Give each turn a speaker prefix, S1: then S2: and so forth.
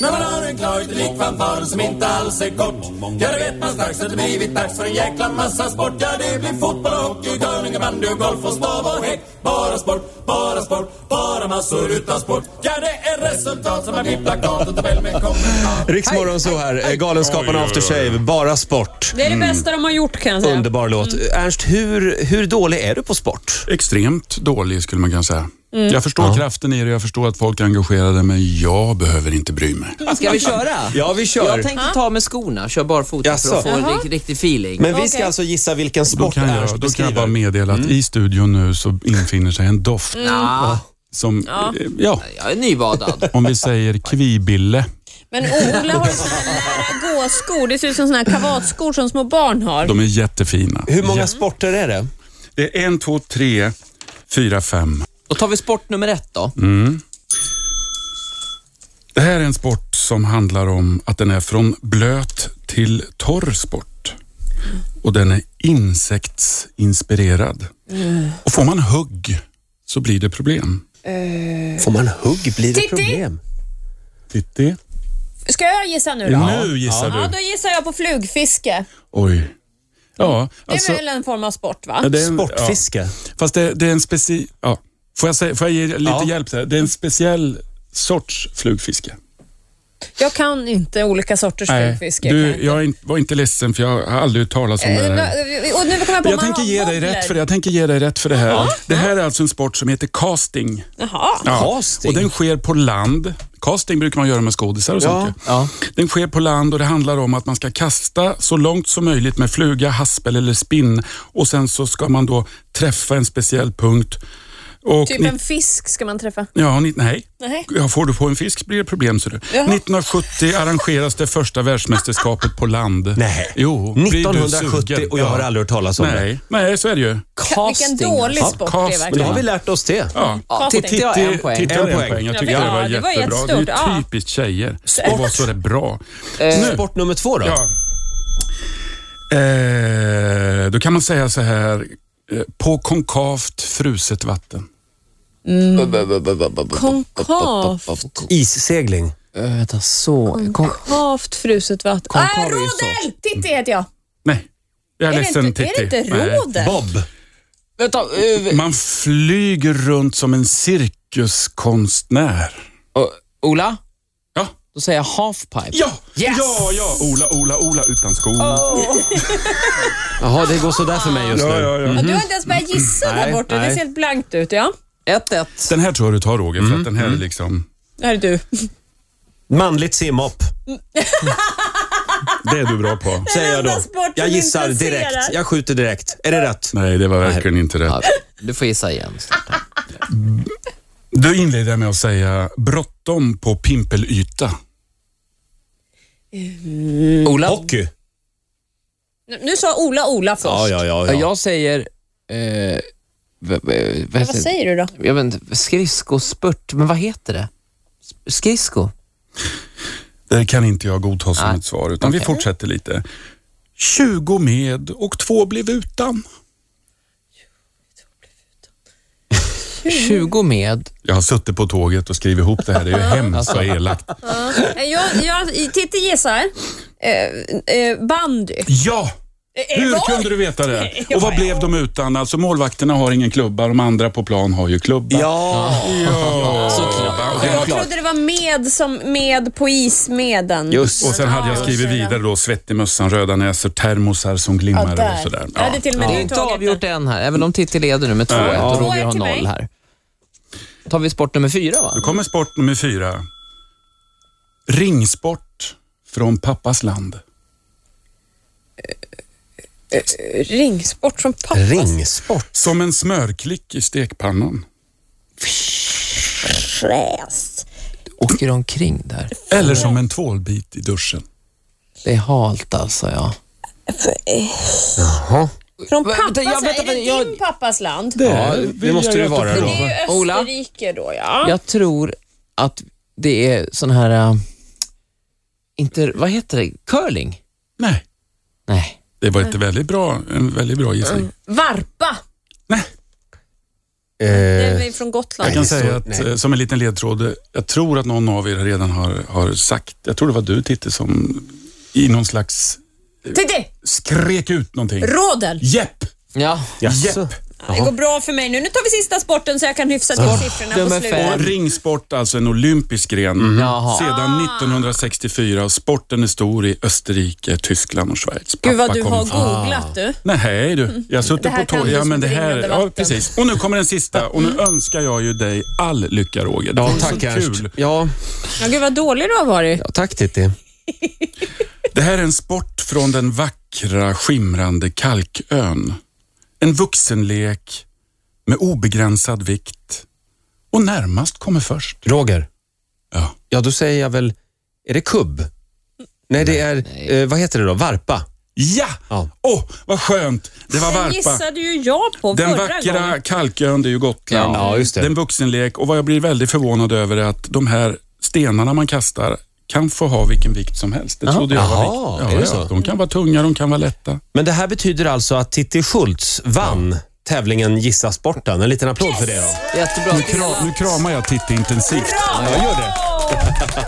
S1: När man har en klar publikfanfar som inte alls är kort Ja, då vet man strax att det blivit dags för en jäkla massa sport Ja, det blir fotboll, hockey, curling, bandy och golf och stav och häck Bara sport, bara sport, bara massor utav sport Ja, det är resultat som är min plakat och tabell med kommentar
S2: Riksmorgon så här, eh, Galenskaparna After Shave, bara sport.
S3: Det är det
S4: Mm.
S3: bästa de har gjort kan jag säga.
S2: Underbar låt.
S3: Mm.
S2: Ernst, hur, hur dålig är du på sport?
S4: Extremt dålig skulle man kunna säga. Jag förstår kraften i det, jag förstår att folk är engagerade, men jag behöver inte bry mig.
S5: Ska vi köra?
S2: Ja, vi kör.
S5: Jag tänkte ta med skorna, kör barfota
S2: Jaså?
S5: för att få en rik- riktig feeling.
S2: Men vi ska
S3: Okej.
S2: alltså gissa vilken
S4: Då
S2: sport
S4: kan
S2: Ernst
S4: jag, då kan jag bara
S2: beskriver.
S4: meddela att i studion nu så infinner sig en doft
S5: Ah,
S4: som, eh, ja,
S5: jag är nybadad.
S4: om vi säger kvibille.
S3: Men Ola har ju såna här lära gå-skor. Det ser ut som såna här kavatskor som små barn har.
S4: De är jättefina.
S2: Hur många sporter är det?
S4: Det är en, två, tre, fyra, fem.
S5: Då tar vi sport nummer ett då.
S2: Mm.
S4: Det här är en sport som handlar om att den är från blöt till torr sport. Och den är insektsinspirerad. Och får man hugg så blir det problem.
S2: Får man hugg blir det
S3: Titti!
S2: problem.
S4: Titti,
S3: Ska jag gissa nu då?
S4: nu gissar
S3: Ja,
S4: du.
S3: då gissar jag på flugfiske.
S4: Oj. Ja,
S3: Det är
S4: alltså.
S3: väl en form av sport va?
S4: ja, det är en-
S2: Sportfiske.
S4: Ja. Fast det, det är en speci... Ja. Får, jag säga, får jag ge lite
S2: Ja.
S4: hjälp? Där? Det är en speciell sorts flugfiske.
S3: Jag kan inte olika sorters flugfiske. kan jag
S4: du,
S3: inte.
S4: jag är in, var inte ledsen för jag har aldrig hört talas om det
S3: Eh,
S4: här.
S3: men- Och nu kommer jag på
S4: Jag tänker, ge dig rätt för det. jag tänker ge dig rätt för det här. Det här är alltså en sport som heter casting.
S3: Jaha.
S4: Ja.
S2: Casting?
S4: Och den sker på land. Casting brukar man göra med skådisar och sånt. ju.
S5: ja.
S4: Den sker på land och det handlar om att man ska kasta så långt som möjligt med fluga, haspel eller spinn och sen så ska man då träffa en speciell punkt. Och
S3: Typ
S4: ni-
S3: en fisk ska man träffa.
S4: Ja, ni, nej.
S3: Nej.
S4: Ja, får du på en fisk blir det problem. Ser du. 1970 arrangeras det första världsmästerskapet på land.
S2: Nej.
S4: Jo, blir du
S2: 1970
S4: sugen?
S2: och jag har
S4: Ja.
S2: aldrig hört talas om det.
S4: Nej. nej, så är det ju.
S3: Vilken dålig
S2: Ja,
S3: sport det
S4: casting.
S3: är
S2: Men då har vi
S3: verkligen.
S2: lärt oss det.
S4: Ja.
S5: Ja,
S3: Casting.
S5: titta, jag har en poäng.
S4: Titta,
S2: En
S4: en
S2: poäng.
S4: poäng.
S3: Ja,
S4: Jag tycker
S3: det-
S4: det var
S3: ja, det var
S4: jättebra.
S3: jättestort,
S4: det
S3: ja.
S4: är typiskt tjejer. Sport. Och var så det bra.
S5: Eh,
S2: Sport nummer två då?
S4: Ja. Eh, då kan man säga så här, eh, på konkavt fruset vatten.
S3: Konkavt.
S2: Issegling.
S5: eh, vänta, så. Kom.
S3: Havt fruset vatten.
S5: Konkav
S3: Ah,
S5: är ju
S3: rodel! Titti heter jag.
S4: Nej, jag är,
S3: Är det
S4: ledsen
S3: inte, är det
S4: Titti.
S3: inte
S4: Nej.
S3: rodel?
S2: Bob.
S5: Vänta, eh,
S4: Man flyger runt som en cirkuskonstnär.
S5: eh, Ola?
S4: Ja.
S5: Då säger jag halfpipe.
S4: Ja!
S5: Yes!
S4: Ja, ja! Ola, Ola, Ola utan skor.
S3: Oh.
S2: Jaha, det går sådär för mig just
S4: Ja,
S2: nu.
S4: ja, ja.
S3: Ja, Du har inte ens börjat gissa där
S2: Nej,
S3: borta. Det
S2: nej.
S3: ser helt blankt ut. Ja,
S5: 1-1.
S4: Den här tror jag du tar Roger, för att
S3: Mm.
S4: den här är liksom...
S3: det här är du.
S2: Manligt simhopp,
S4: Det är du bra
S3: Mm.
S4: på.
S2: säger jag då.
S3: enda sport som
S2: Jag gissar
S3: intresserar.
S2: direkt. Jag skjuter direkt. Är det rätt?
S4: Nej, det var verkligen inte
S5: Ja,
S4: rätt.
S5: Du får gissa igen.
S4: Då inleder jag med att säga bråttom på pimpelyta.
S2: Mm.
S5: Ola?
S2: Hockey.
S3: Nu- Nu sa Ola Ola först.
S2: Ja, ja, ja.
S5: Ja.
S2: ja.
S5: Jag säger... Eh, v- v- vad
S3: Men Vad
S5: heter det?
S3: säger du då?
S5: Jag vet inte, skridskospurt, men vad heter det? Sp- Skridsko?
S4: Det kan inte jag godta som
S5: Nej.
S4: ett svar, utan vi
S5: Okej.
S4: fortsätter lite. 20 med och två blev utan.
S5: 20 med.
S4: Jag har suttit på tåget och skrivit ihop det här. Det är ju hemskt vad elakt.
S3: Eh, Jag, jag, Titti gissar. Eh, eh, bandy.
S4: Ja!
S3: Eh,
S4: Hur
S3: vad?
S4: kunde du veta det?
S3: Ja,
S4: Och vad blev de utan? Alltså målvakterna har ingen klubba, de andra på plan har ju klubba.
S2: Ja,
S4: Ja.
S5: Såklart.
S3: Jag
S5: Självklart.
S3: trodde det var med som med på ismeden.
S2: just.
S4: Och sen hade jag skrivit vidare då, svettig mössan, röda näsor, termosar som
S3: Ja,
S4: glimmar
S3: där.
S4: och sådär.
S3: Jag hade till och med
S5: Det är
S3: du
S5: inte
S3: tagit
S5: avgjort
S3: den.
S5: än här, även om Titti leder nu med 2-1
S4: Ja.
S5: och
S3: Två
S5: Roger
S3: ett
S5: har
S3: till mig.
S5: noll här. Då tar vi sport nummer fyra va?
S4: Då kommer sport nummer fyra. Ringsport från pappas land.
S3: Ringsport från pappa.
S2: Ringsport.
S4: Som en smörklick i stekpannan.
S3: Fräs.
S5: Åker omkring där.
S4: Eller som en tvålbit i duschen.
S5: Det är halt alltså ja.
S3: Från
S5: Vänta,
S3: pappas
S5: jag- vänta,
S3: är det
S5: jag-
S3: din pappas land?
S2: Ja, det måste det vara
S3: Men det
S2: då.
S3: är ju
S5: Ola?
S3: Österrike då ja.
S5: Jag tror att det är sån här... äh, inte, vad heter det? Curling?
S4: Nej,
S5: Nej.
S2: Mm.
S4: det var ett väldigt bra, en väldigt bra gissning.
S3: Varpa.
S4: Nej,
S2: Eh,
S3: Den är från Gotland.
S4: Jag kan
S2: Nej, så-
S4: säga att,
S2: nej.
S4: eh, som en liten ledtråd, eh, jag tror att någon av er redan har, har sagt, jag tror det var du Titti som i någon slags
S3: Titti!
S4: skrek ut någonting.
S3: Rådel!
S4: Jepp!
S5: Ja.
S2: Jaså?
S4: Jepp!
S3: Det går bra för mig nu. Nu tar vi sista sporten så jag kan hyfsa till siffrorna på
S5: nummer
S3: slutet.
S5: fem.
S4: Och Eh, ringsport, alltså en olympisk gren,
S3: Mhm.
S5: Jaha.
S3: Ah.
S4: sedan 1964 och sporten är stor i Österrike, Tyskland och Schweiz.
S3: Gud vad
S4: Pappa
S3: du
S4: kom
S3: har
S4: från-
S3: googlat du.
S4: Nej du, jag har
S3: Det
S4: suttit
S3: här Mm.
S4: på
S3: kan
S4: tå.
S3: du
S4: Ja,
S3: som
S4: men det
S3: drinnande
S4: här, ja,
S3: vatten.
S4: precis. Och nu kommer den sista och nu önskar jag ju dig all lycka Roger. Det
S2: Ja,
S4: var så
S2: tack Ernst.
S4: kul.
S2: Ja,
S3: Ja, gud vad dålig du har varit.
S2: ja, tack Titti.
S4: Det här är en sport från den vackra skimrande kalkön. En vuxenlek med obegränsad vikt och närmast kommer först.
S2: Roger.
S4: Ja.
S2: Ja, då säger jag väl, är det kubb? Nej, det är, eh, vad heter det då? Varpa?
S4: Ja! Åh,
S2: Ja.
S4: vad skönt! Det var
S3: Den
S4: varpa.
S3: gissade ju jag på
S4: Den
S3: förra
S4: vackra
S3: gången.
S4: kalkön, det är ju Gotland.
S2: Ja, just det.
S4: Den vuxenlek och vad jag blir väldigt förvånad över är att de här stenarna man kastar kan få ha vilken vikt som helst. Det trodde jag
S2: Jaha,
S4: var
S2: är
S4: viktigt.
S2: det
S4: Ja,
S2: så?
S4: ja. De kan vara tunga, de kan vara lätta.
S2: Men det här betyder alltså att Titti Schultz vann tävlingen Gissa sporten. En liten applåd för det då.
S5: Jättebra.
S4: Nu kramar jag Titti intensivt.
S2: Ja, gör det.